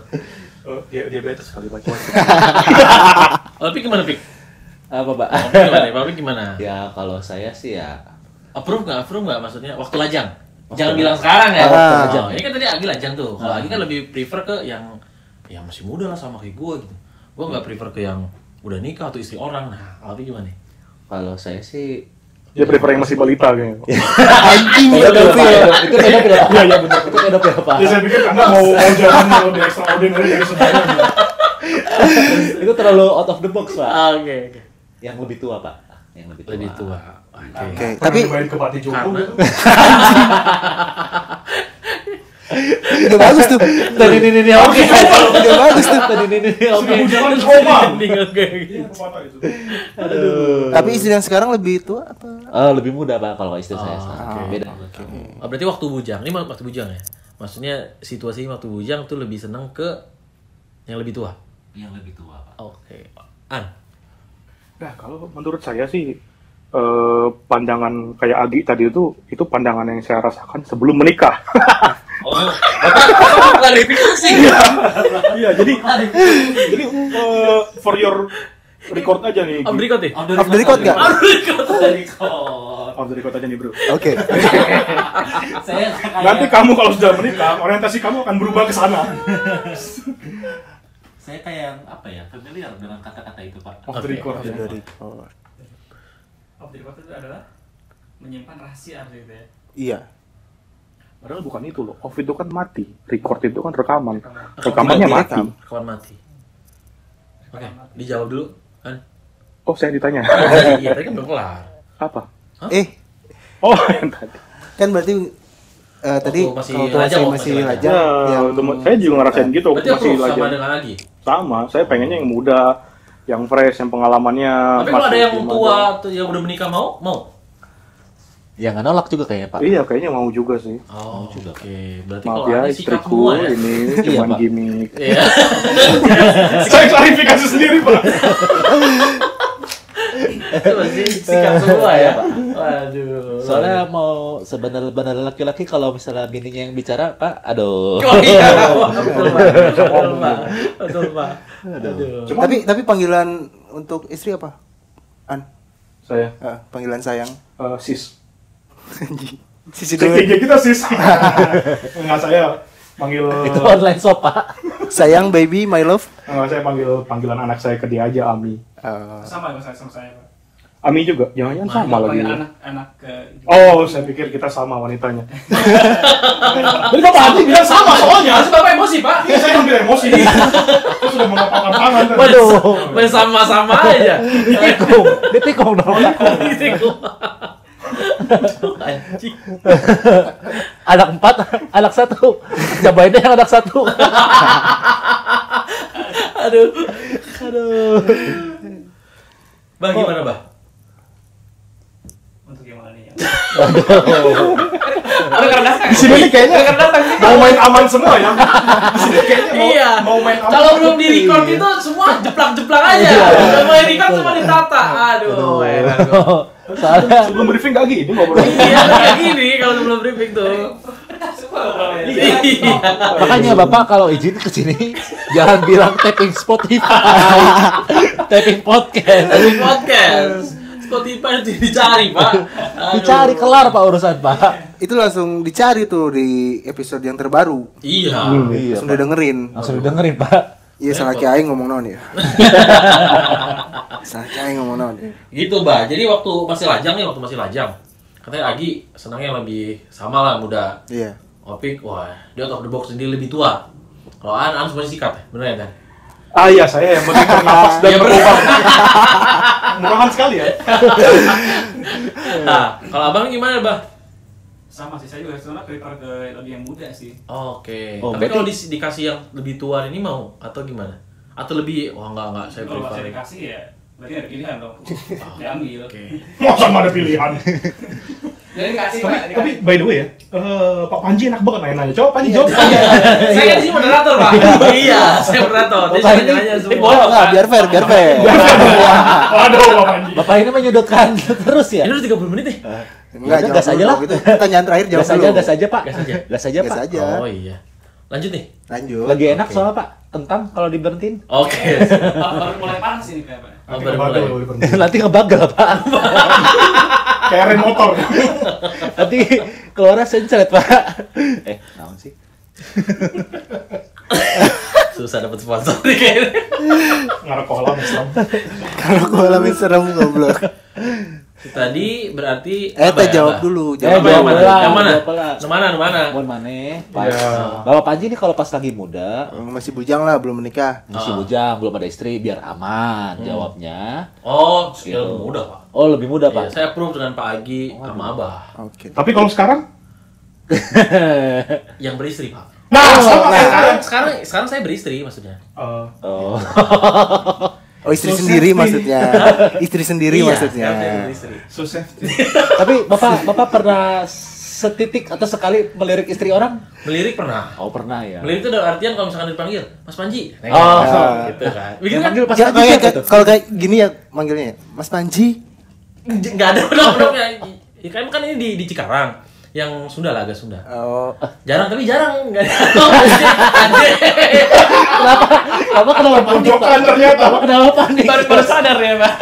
Oh, dia diabetes kali Pak. Tapi gimana, Pik? Apa, Pak? Tapi gimana? Tapi gimana? ya, kalau saya sih ya Approve nggak? Approve nggak? Maksudnya waktu lajang. Jangan bilang sekarang ya. Ah, waktu Oh, lajang. ini kan tadi Agi lajang tuh. Kalau Agi kan lebih prefer ke yang yang masih muda lah sama kayak gue gitu. Gue nggak prefer ke yang udah nikah atau istri orang. Nah, kalau Pik gimana? kalau saya sih Dia prefer yang masih balita kayaknya. Anjing itu pedofil. pedofil. Itu pedofil. Iya, iya benar. Itu pedofil, Pak. Ya saya pikir Anda mau mau jalan mau di extraordinary dari sebenarnya. Itu terlalu out of the box, Pak. Oke, oke. Yang lebih tua, Pak. Yang lebih tua. Lebih tua. Oke. Oke, tapi main ke Pati Joko Karena- gitu. udah bagus tuh. Tadi ini ini oke. Udah bagus tuh. Ah, Tadi ini ini oke. Sudah hujan trauma. Oke. Iya, ke Pati itu. Tapi istri yang sekarang lebih tua apa? Eh, lebih muda, Pak, kalau istri Ah, saya. sekarang. Beda. Ah, berarti waktu bujang, ini waktu bujang ya? Maksudnya situasi waktu bujang tuh lebih seneng ke yang lebih tua? Yang lebih tua, Pak. Oke. An? Nah, kalau menurut saya sih eh, pandangan kayak Agi tadi itu itu pandangan yang saya rasakan sebelum menikah. Oh, klarifikasi Iya, jadi jadi eh, for your record aja nih. Om Gi. Rikot ya? Off the record nggak? Om Rikot Off the record aja nih, Bro. Oke. Saya Nanti kamu kalau sudah menikah, orientasi kamu akan berubah ke sana. Saya kayak apa ya? Familiar dengan kata-kata itu, Pak. Off the Oke, record. Off the record. Off the record itu adalah menyimpan rahasia gitu ya. Iya. Padahal bukan itu loh. Off itu kan mati. Record itu kan rekaman. Rekamannya mati. Kawan mati Oke, dijawab dulu An? Oh, saya ditanya. Iya, tadi kan belum kelar Apa? Eh, Oh, yang tadi. kan berarti eh, tadi Waktu masih kalau tua lajang, saya waktu masih masih lajang, Ya, yang temen- saya juga ngerasain gitu Berarti waktu masih approve lagi. sama dengan lagi? Sama, saya pengennya yang muda, yang fresh, yang pengalamannya. Tapi kalau Ah, masih ada yang gimana. tua, atau yang udah menikah mau? Mau? Ya nggak nolak juga kayaknya, Pak. Iya, kayaknya mau juga sih. Oh, juga. oke Berarti Maaf kalau ya, ada sikap istriku semua ya? ini Iya, cuman Pak. gimmick. Iya saya klarifikasi sendiri, Pak. Itu pasti sikap semua ya Waduh Soalnya mau sebenar-benar laki-laki kalau misalnya bininya yang bicara, Pak, aduh. Oh iya, betul pak, betul pak, betul pak. Aduh. Cuman tapi tapi panggilan untuk istri apa? An, saya Ah, panggilan sayang. eh, sis. Sisi dulu. Kayak kita sis. Enggak saya panggil Itu online shop, Pak. sayang baby, my love. enggak saya panggil panggilan anak saya ke dia aja Ami. Eh, Sama sama saya sama saya, Pak. Ami juga. Jangan-jangan sama lagi. Panggil anak-anak ke Oh, saya pikir kita sama wanitanya. Tapi Pak Andi bilang sama soalnya. Masih bapak emosi pak? Iya, saya hampir emosi. Terus sudah mengepakkan tangan. tadi. Waduh. Main sama-sama aja. Ditikung, ditikung dong. Aduh, anjing. Anak empat, anak satu. Cobainnya yang anak satu. Aduh. Bah gimana bah? untuk yang mana nih? Ada karena datang. Di sini nih kayaknya Karena datang sih. Mau main aman semua ya. Di sini kayaknya mau, Iya. mau main aman. Kalau belum di record itu semua jeplak-jeplak aja. Udah mulai record semua ditata. Iya. Aduh. heran gua. Soalnya Sebelum briefing gak gini ngobrol. Iya kayak gini kalau sebelum briefing tuh. Iya. Makanya Bapak kalau izin ke sini jangan bilang tapping Spotify. tapping podcast. Tapi podcast. Spotify itu dicari pak. Aduh. Dicari kelar Pak urusan Pak. itu langsung dicari tuh di episode yang terbaru. Iya. Iya. Eh, Langsung didengerin. Langsung dengerin Pak. Iya, salah kiai ngomong naon ya. salah kiai ngomong naon. ya. Gitu bah. Jadi waktu masih lajang nih waktu masih lajang. Katanya Agi senangnya yang lebih sama lah muda. Iya. Opik, wah dia out of the box sendiri lebih tua. Kalau An, An semuanya sikat ya, bener ya kan? Ah iya saya yang penting bernafas dan Ya, berubah. Murahan sekali ya. Nah, kalau abang gimana, Bah? sama sih saya juga sebenarnya prefer ke lebih yang muda sih Oke. Oh, Tapi berarti- kalau di, dikasih yang lebih tua ini mau atau gimana? Atau lebih wah enggak enggak saya kalau masih prefer. dikasih ya berarti ada pilihan dong diambil Oke. Masa nggak ada pilihan. jadi dikasih tapi, Pak, tapi dikasih. by the way ya, eh, Pak Panji enak banget nanya-nanya. Coba Panji jawab. Panji. saya kan di sini moderator pak iya, saya berator. Dia Bapak ini- nanya-nanya ini boleh, semua. Nggak, Oh, biar fair, biar fair. Waduh Pak Panji. Bapak ini menyudutkan terus ya? Ini udah 30 menit nih. Enggak, Udah, gas jawab aja dulu lah. gitu. Pertanyaan terakhir jawab Gas aja, dulu. gas aja Pak. Gas aja. Gas aja Gas Pak. aja. Oh iya. Lanjut nih. Lanjut. Lagi enak soalnya Pak. Entang kalau diberhentiin. Oke. Pak, baru mulai panas ini kayak pak Oh, Nanti baru kebagal, mulai. baru mulai. Nanti ngebagal Pak. Kayak rem motor. Nanti keluarnya sencret Pak. Eh, naon sih? Susah dapat sponsor nih kayaknya. Ngarep kolam Islam. Kalau gua alamin serem goblok. Tadi berarti Eh, apa teh ya, jawab Bah? dulu. Yang Eh, mana? jawab Jawab dulu. pelan, Yang mana? jawab pelan. Yang mana? Yang mana? Mohon maneh. Pak. Iya. Bapak Panji ini kalau pas lagi muda Oh, Masih bujang lah, belum menikah. masih Ah. Hmm. bujang, belum ada istri, biar aman jawabnya. Oh, Gitu. skill muda, Pak. Oh, lebih muda, Iya, Pak. saya approve dengan Pak Agi sama Abah Oke. Tapi kalau sekarang, yang beristri, Pak. Eh, Eh, nah sama kayak sekarang. Sekarang sekarang sekarang saya beristri maksudnya. Eh, Oh. Oh, istri So sendiri safety. maksudnya. Istri sendiri Iya, maksudnya. sekarang saya beristri. so safety. Tapi Bapak Bapak pernah setitik atau sekali melirik istri orang? Melirik pernah. Oh, pernah ya. Melirik itu dalam artian kalau misalkan dipanggil, Mas Panji. Oh. gitu kan. Begitu Yang kan? panggil pas Ya, lagi kayak- siapa tuh? kalau kayak gini ya manggilnya. Mas Panji. Enggak ada blok-bloknya. Ya, kan kan ini di, di Cikarang yang Sunda lah agak Sunda. Oh, Jarang tapi jarang enggak ada. Anjir. Iya. Kenapa? Kenapa kenapa panik, Pojokan Pak? ternyata. Kenapa panik? Baru baru sadar ya, Pak.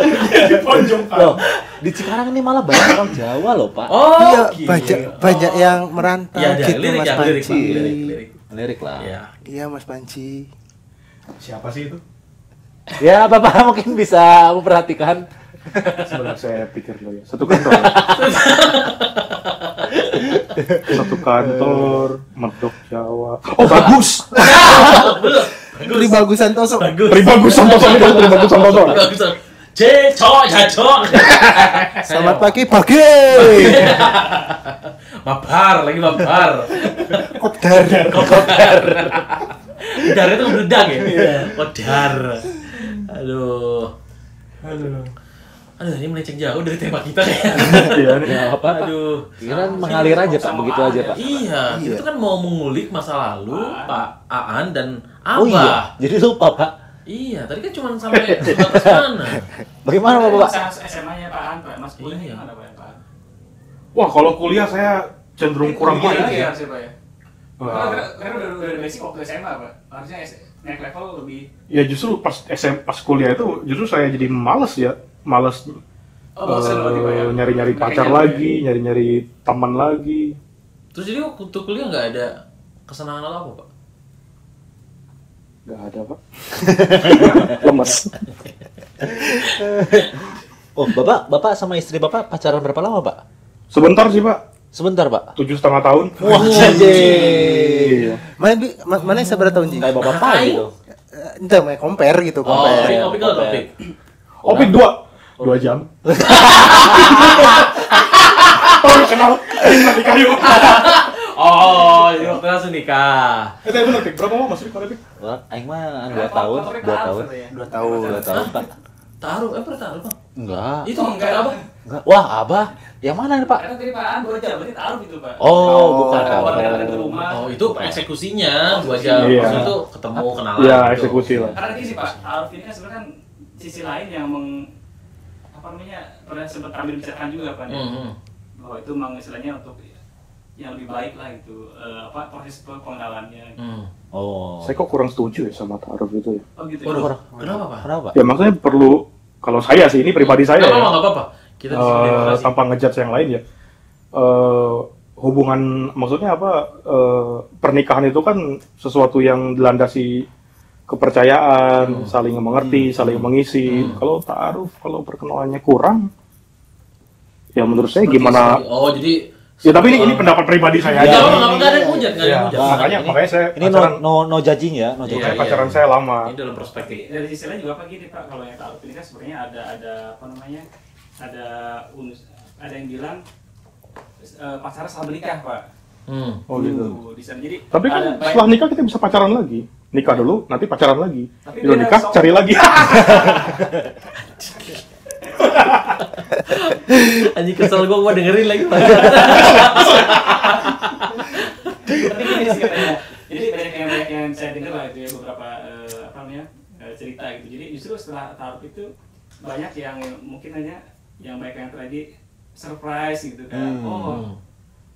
Pojokan. Loh, di Cikarang ini malah banyak orang Jawa loh, Pak. Oh, iya gila. banyak banyak yang merantau Iya, ada gitu lirik Mas ya, lirik, Pak. Panji. Lirik, lirik. Melirik lah. Iya. Iya Mas Panji. Siapa sih itu? Ya, Bapak mungkin bisa memperhatikan. Sebentar saya pikir dulu ya. Satu kantor. ya. Satu kantor, medok Jawa. Oh bagus. Tri Bagus Santoso. Bagus. Pribagus Santoso ini dari Pribagus Santoso. Bagus. Cecok, cacok. Selamat "Oh, pagi, Bagus. Mabar, lagi mabar. Kopdar. Kodar. Kodar itu meledak ya. Kodar. Aduh. Aduh, ini melenceng jauh dari tema kita kayaknya. Iya nih. Ya, apa? Aduh. Aduh. Kira mengalir aja, Pak. Begitu aja, Pak. Iya, Iya. itu kan mau mengulik masa lalu Pak Aan dan Abah. Oh iya, jadi lupa, Pak. Iya, tadi kan cuma sampai batas mana. Bagaimana, Bapak? SMA nya Pak An, Pak Mas kuliahnya Iya. gimana Pak Pak An? Wah kalau kuliah saya cenderung kurang Kuliah baik lagi ya. harusnya, Iya, Pak ya Wah. karena karena udah udah basic waktu SMA Pak harusnya S- naik level lebih Ya justru pas SM pas kuliah itu justru saya jadi males ya, males Oh, bosan berarti, Pak, ya? eh, nyari-nyari Makanya, pacar Pak, ya. lagi, nyari-nyari teman lagi. Terus jadi waktu kuliah nggak ada kesenangan atau apa, Pak? Gak ada pak. Lemes. Oh, Bapak, Bapak sama istri Bapak pacaran berapa lama, Pak? Sebentar sih pak, Sebentar, Pak. tujuh setengah tahun. Wah, anjing. Iya. Mana di ma- mana yang seberapa tahun Ji? Kayak Bapak Pak gitu. Eh, Entah, main compare Oh, gitu, compare. opik, opik, Oke. opik. Opik Oh, dua, dua jam. Oh kenal, nanti kayu. Oh, jadi waktu langsung nikah. Eh tapi bener pik, berapa lama sih kalau pik? Wah, Aing mah 2 Kenapa? tahun, 2 Motornya keras, tahun. Pak, ya? 2 tahun. 2 tahun, Pak. Taruh, eh pernah taruh, Bang? Enggak. Itu Oh, enggak enggak. apa? Enggak. Wah, Abah. Yang mana nih, Pak? karena tadi Pak An dua jam berarti taruh gitu Pak Oh, Oh, bukan. Taruh. Keluar dari rumah Oh, itu eksekusinya dua jam. Iya. Maksudnya itu ketemu kenalan. Iya gitu. eksekusi lah. Karena gini sih Pak, Arif ini kan sebenarnya kan sisi lain yang meng apa namanya pernah sempat kami bicarakan juga kan ya, Mhm. bahwa itu memang istilahnya untuk yang lebih baik lah gitu eh, apa proses pengenalannya. Hmm. Oh. Saya kok kurang setuju ya sama taruh gitu ya. Oh gitu. ya? Waduh, kenapa, Pak? Kenapa? Ya maksudnya perlu kalau saya sih ini pribadi saya Nggak ya. apa-apa, nggak apa-apa. Kita di sini eh demokrasi. tanpa ngejudge yang lain ya. Eh hubungan maksudnya apa eh, pernikahan itu kan sesuatu yang dilandasi kepercayaan, saling mengerti, saling mengisi. Kalau taaruf, kalau perkenalannya kurang, ya menurut saya Seperti gimana seperti- Oh, jadi Ya tapi ini, ini pendapat pribadi saya Ya, aja. apa nggak nggak ada yang hujat, nggak ada Ya, yang hujat. nah, makanya Ini- makanya saya Ini pacaran, no no no judging ya, no Iya, saya judging. iya. pacaran saya lama. Ini dalam perspektif. Tapi dari sisi lain juga apa gini Pak, kalau yang tahu ini kan sebenarnya ada ada apa namanya? Ada unus, ada yang bilang eh, pacaran setelah menikah Pak. Hmm. Oh gitu. Tuh, di sana jadi Tapi kan ada- setelah nikah kita bisa pacaran lagi. Nikah dulu, nanti pacaran lagi. Tapi Udah beda nikah, song. cari lagi. Anjing kesel gua, gua dengerin lagi. tapi gini sih katanya. Jadi Iya. banyak yang banyak yang saya dengar lah itu ya beberapa eh, apa namanya eh, cerita gitu. Jadi justru setelah taruh itu banyak yang mungkin hanya yang mereka yang tadi surprise gitu kan. Hmm. Oh,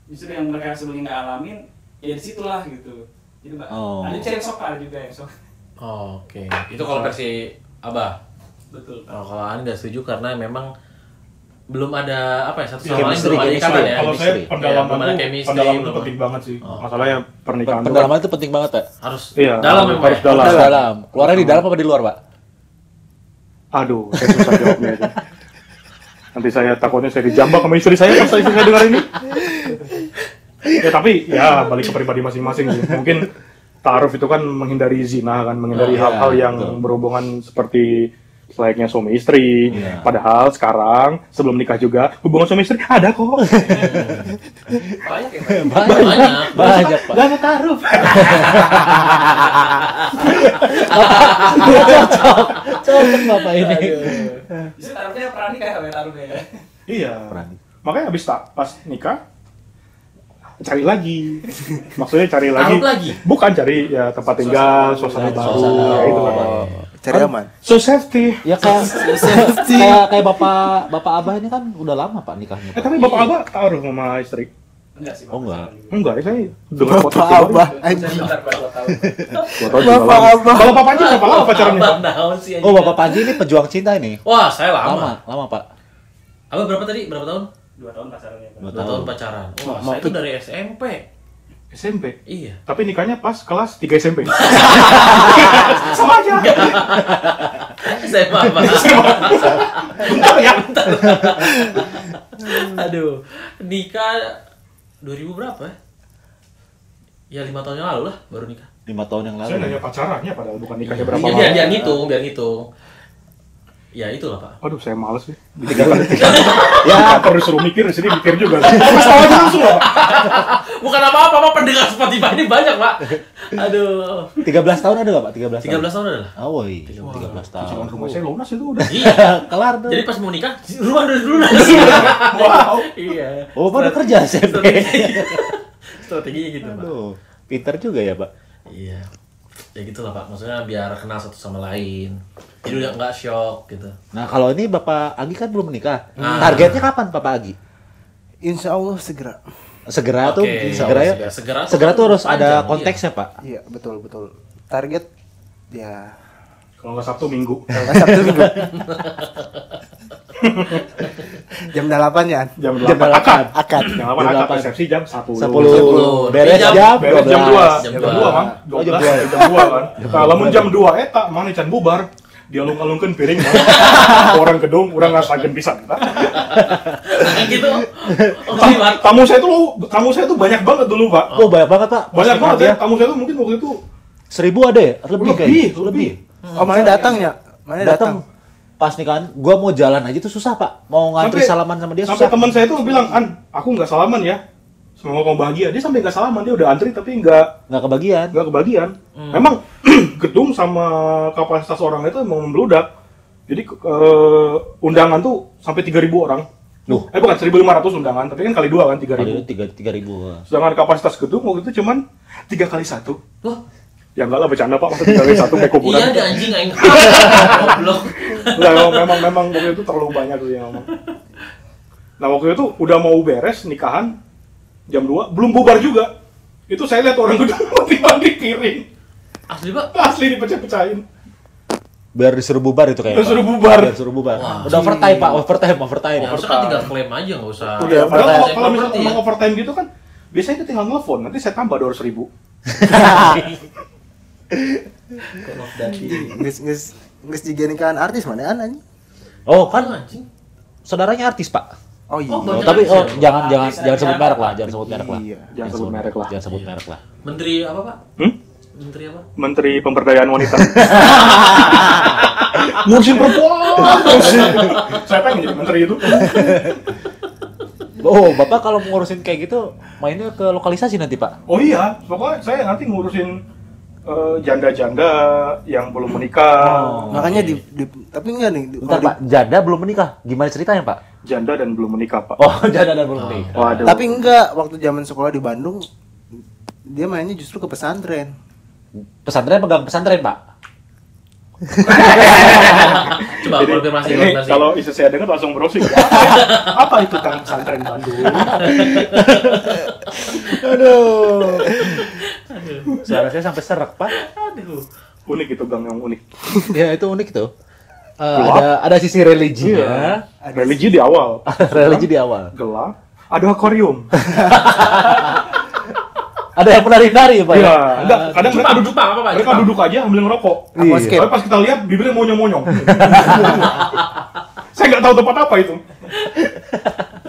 justru yang mereka sebelumnya nggak alamin ya di situlah gitu. Jadi Pak, Oh. ada cari sok ada juga yang sok. Oke. Itu kalau versi Abah. Betul. Pak. Nah, kalau Ani nggak setuju karena memang belum ada apa ya satu sama lain Chemistry, belum ada chemistry. ikatan ya. Kalau saya Chemistry. Iya, pendalaman tuh- chemistry, pendalaman itu belum- penting banget sih. Oh. Masalahnya pernikahan. tuh Pendalaman itu penting banget, Pak. Harus Iya, dalam memang. ya? harus Iya. dalam. Di dalam. Keluarnya di dalam apa di luar, Pak? Aduh, saya susah jawabnya itu. Nanti saya takutnya saya dijambak sama istri saya pas istri saya dengar ini. Ya tapi ya balik ke pribadi masing-masing sih. Mungkin taruh itu kan menghindari zina kan, Oh, iya, menghindari hal-hal yang betul. berhubungan seperti selayaknya suami istri. Iya. Padahal sekarang sebelum nikah juga hubungan suami istri ada kok. Banyak ya. Pak? Banyak, Banyak. banyak, Pak. Gak mau taruh. Cocok. Cocok Bapak ini. Justru taruhnya perani kayak ya taruhnya ya. Iya. Berani. Makanya habis tak pas nikah cari lagi. Maksudnya cari lagi. Taruh lagi. Bukan cari ya tempat tinggal, suasana, Suasana baru, baru. ya itu lah. Oh. Cari aman. So safety. Ya kayak kayak kayak Bapak Bapak Abah ini kan udah lama, Pak, nikahnya. Eh Pak. tapi bapak abah taruh sama istri? Enggak sih. Pak. Oh, enggak. Enggak, ya saya dengar Bapak podcast kemarin. apa? Saya Anjing. sebentar Pak, dua tahun. Gua tahu juga Bapak lama. Abah. Kalau bapaknya siapa Kan lama ya? pacarannya? Abah, naon sih, anjing. Oh, Bapak Panji ini pejuang cinta ini. Wah, saya lama. Lama, lama, Pak. Abah berapa tadi? Berapa tahun? Dua tahun pacarannya. Pak. Dua Dua tahun. tahun pacaran. Wah, Lama, saya itu Pik. dari SMP. SMP. Iya. Tapi nikahnya pas kelas 3 SMP. Sama aja. SMA apa? Bentar ya. Aduh. Nikah 2000 berapa ya? Ya lima tahun yang lalu lah baru nikah. 5 tahun yang lalu. Saya nanya pacarannya padahal bukan nikahnya berapa Biar, Iya, biar, lama. biar ngitung, biar ngitung. Ya itulah Pak. Aduh, saya males nih. Ya, terus suruh mikir di sini mikir juga. Terus tahu aja langsung lah. Pak. Bukan apa-apa, Pak. Pendengar Spotify ini banyak, Pak. Aduh. 13 tahun ada nggak, Pak? 13 tahun. 13 tahun adalah. Ah, woi. 13 tahun. Jangan rumah saya lunas itu udah. Iya. Kelar dong. Jadi pas mau nikah, rumah udah dulu Wow. Iya. Oh, Bapak udah kerja SMP. Strategi- Strateginya gitu, Pak. Aduh, pinter juga ya, Pak. Iya. Ya gitulah, Pak. Maksudnya biar kenal satu sama lain. Jadi udah nggak shock gitu. Nah, kalau ini Bapak Agi kan belum menikah. Ah. Targetnya kapan Bapak Agi? Insya Allah segera. Oke, Segera tuh, segera ya. segera. Segera tuh Segera tuh harus panjang, ada iya. konteksnya, Pak. Iya betul betul. Target ya Kalau nggak Sabtu Minggu. Eh, Sabtu minggu. Jam 8 ya. Jam Jam 8 akad. Akad. Jam 8 akad Delapan. resepsi jam 10. 10. Beres Jam- jam Beres jam 12. 2. Jam Jam dua. 2 kan. Oh, jam 12 sampai jam 2 kan. Nah, lamun jam 2 eta mana can bubar. Dia lungkan piring kan. Orang gedung urang ngasageun pisan. Nah, Nah, gitu. Oh, gimana? Tamu saya tuh tamu saya tuh banyak banget dulu, Pak. Oh, banyak banget, Pak. Banyak Maksudnya banget ya. dia Tamu saya tuh mungkin waktu itu Seribu ada ya? Lebih, Lebih, kayaknya. lebih. Oh mana ya? datangnya? Mana Datang datang? pas nikahan, gua mau jalan aja tuh susah, Pak. Mau ngantri Sampai- salaman sama dia susah. sampai teman saya tuh bilang, "An, aku nggak salaman ya." Semoga kamu bahagia. Dia sampai nggak salaman, dia udah antri tapi nggak nggak kebagian. nggak kebagian. Hmm. Memang gedung sama kapasitas orang itu emang membludak. Jadi ke- eh, undangan tuh sampai 3.000 orang. Loh. Eh bukan 1.500 undangan, tapi kan kali dua kan Tadi itu 3.000. tiga tiga ribu. Sedangkan kapasitas gedung waktu itu cuman tiga kali satu. Wah, Ya enggak lah bercanda Pak, masa tiga kali satu kayak kuburan. iya ada anjing aing. Goblok. Enggak, memang, memang memang waktu itu terlalu banyak sih yang ngomong. Nah, waktu itu udah mau beres nikahan jam 2, belum bubar juga. Itu saya lihat orang gedung mati-mati piring. Asli, Pak. Asli dipecah-pecahin. Biar disuruh bubar itu kayaknya. Biar suruh Pak. bubar. Biar suruh bubar. Wah, Udah overtime, Pak. Overtime, overtime. Ya, harusnya kan tinggal klaim aja nggak usah. Udah, Iya, padahal kalau, Cek kalau misalnya properti ya. emang overtime gitu kan, biasanya itu tinggal nelfon, nanti saya tambah 200 ribu. Nges nges nges juga nikahan artis mana an anjing? Oh, Kan kan anjing. saudaranya artis, Pak. Oh iya. Oh, Oh, banyak tapi kan oh, sih. jangan Artis jangan dan jangan sebut drama. merek lah, jangan sebut merek lah. Iya, jangan sebut merek lah. Jangan sebut merek lah. Menteri apa pak? Hmm? Menteri apa? Menteri Pemberdayaan Wanita. Ngurusin perempuan. Saya pengen jadi menteri itu. Oh, Bapak kalau ngurusin kayak gitu mainnya ke lokalisasi nanti, Pak. Oh iya, pokoknya saya nanti ngurusin eh, janda-janda yang belum menikah, Oh. Makanya di, di- tapi enggak nih. di- Bentar, kalau Pak. Janda belum menikah. Gimana ceritanya, Pak? janda dan belum menikah pak. Oh, janda dan belum menikah. di- Waduh. Tapi enggak waktu zaman sekolah di Bandung dia mainnya justru ke pesantren. Pesantren pegang pesantren, Pak. Coba Jadi, konfirmasi ini konfirmasi. kalau istri saya dengar langsung browsing. Apa, apa itu kang pesantren Bandung? Aduh. Suara saya sampai serak, Pak. Aduh. Unik itu gang yang unik. Ya, itu unik tuh. Eh, Gelap. ada ada sisi religi ya. Religi di awal. Iya. religi di awal. Gelap. Ada akuarium. Ada yang menari-nari, Pak. Iya. ya? enggak, kadang Cuma mereka duduk pak apa pak? mereka Jepang. duduk aja ambil ngerokok. Iya. Tapi pas kita lihat bibirnya monyong-monyong. saya nggak tahu tempat apa itu.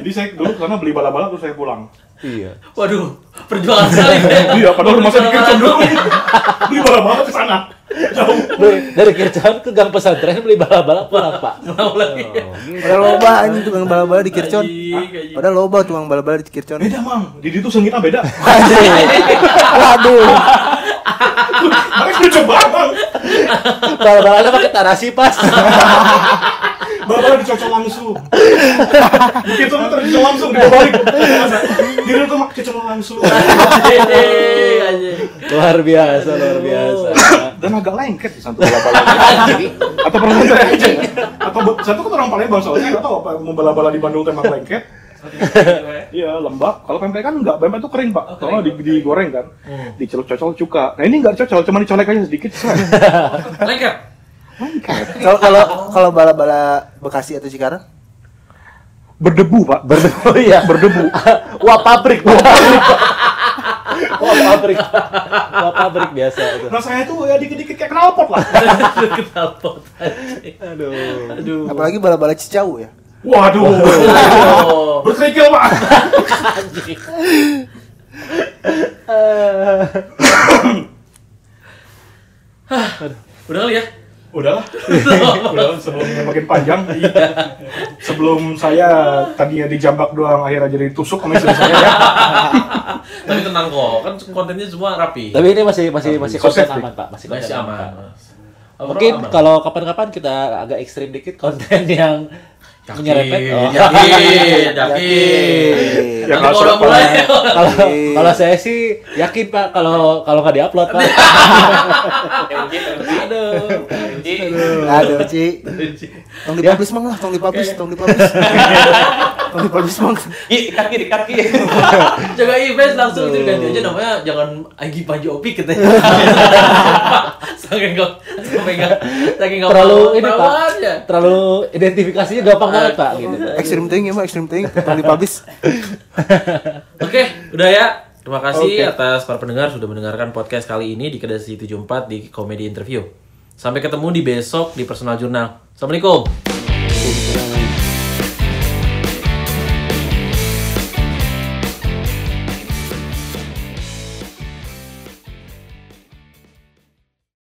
Jadi saya dulu karena beli bala-bala terus saya pulang. Iya. Waduh, perjuangan sekali. ya. Iya, padahal rumah saya di Perjuangan Kircon dulu. banget. beli bala-bala ke sana. Jauh. Beli- Dari Kircon ke gang pesantren beli bala-bala pulang, Pak. Pulang lagi. Oh. Padahal loba anjing tukang bala-bala di Kircon. Anjing, gitu. Hah? anjing. Padahal loba tukang bala-bala di Kircon. Beda, Mang. Di situ sengitnya beda. Anjing. Waduh. Makanya saya coba, Mang. Bala-balanya pakai tarasi pas. Bala-bala dicocok langsung. Mungkin tuh ntar dicocok langsung, dibalik. Di situ mah dicocok langsung. Anjing, anjing. luar biasa, luar biasa. Dan agak lengket di satu bala-bala. Atau pernah saya aja. Atau be- satu kan orang Palembang soalnya, nggak tahu apa mau bala-bala di Bandung tembak lengket. gitu ya. Iya, lembab. Kalau pempek kan enggak, pempek itu kering, Pak. Kalau di, digoreng kan, dicelup cocol cuka. Nah, ini enggak cocol, cuma dicolek aja sedikit. seret. Lengkap. Lengket. Kalau kalau kalau bala-bala Bekasi atau Cikarang? Berdebu, Pak. Berdebu ya. Berdebu. Wah pabrik. Wah pabrik. Wah pabrik. Wah pabrik biasa itu. Rasanya tuh ya dikit-dikit kayak knalpot lah. Knalpot. anjing. Aduh. Aduh. Apalagi bala-bala Cicau ya. Waduh. Aduh. Berkerikil, Pak. Udah kali ya? Udahlah. Iya. Udah sebelumnya makin panjang. Sebelum saya tadinya dijambak doang akhirnya jadi tusuk sama istri saya ya. Tapi tenang kok, kan kontennya semua rapi. Tapi ini masih masih masih konten Sukses, Dik. aman pak, masih konten Masih aman. Pak. aman. Mungkin Overall aman. kalau kapan-kapan kita agak ekstrim dikit konten yang Yakin, menyerempet. Oh. yakin, yakin. Yakin. Nanti Ya, kalau kalau udah sudah mulai, Kalau kalau saya sih yakin pak kalau kalau nggak diupload pak. Aduh. Aduh, Ci. Tong dipublish mang lah, tong dipublish, tong dipublish. tong dipublish mang. Ih, kaki di kaki. jaga event langsung itu ganti aja namanya jangan Agi Panji Opi katanya. Saking nggak, saking nggak, saking nggak Terlalu mau ini pak, tawarnya. terlalu identifikasinya gampang banget pak. Gitu. Extreme thing ya, mah extreme thing. Tong dipublish. Oke, udah ya. Terima kasih atas para pendengar sudah mendengarkan podcast kali ini di Kedai City 74 di Komedi Interview. Sampai ketemu di besok di Personal Journal. Assalamualaikum.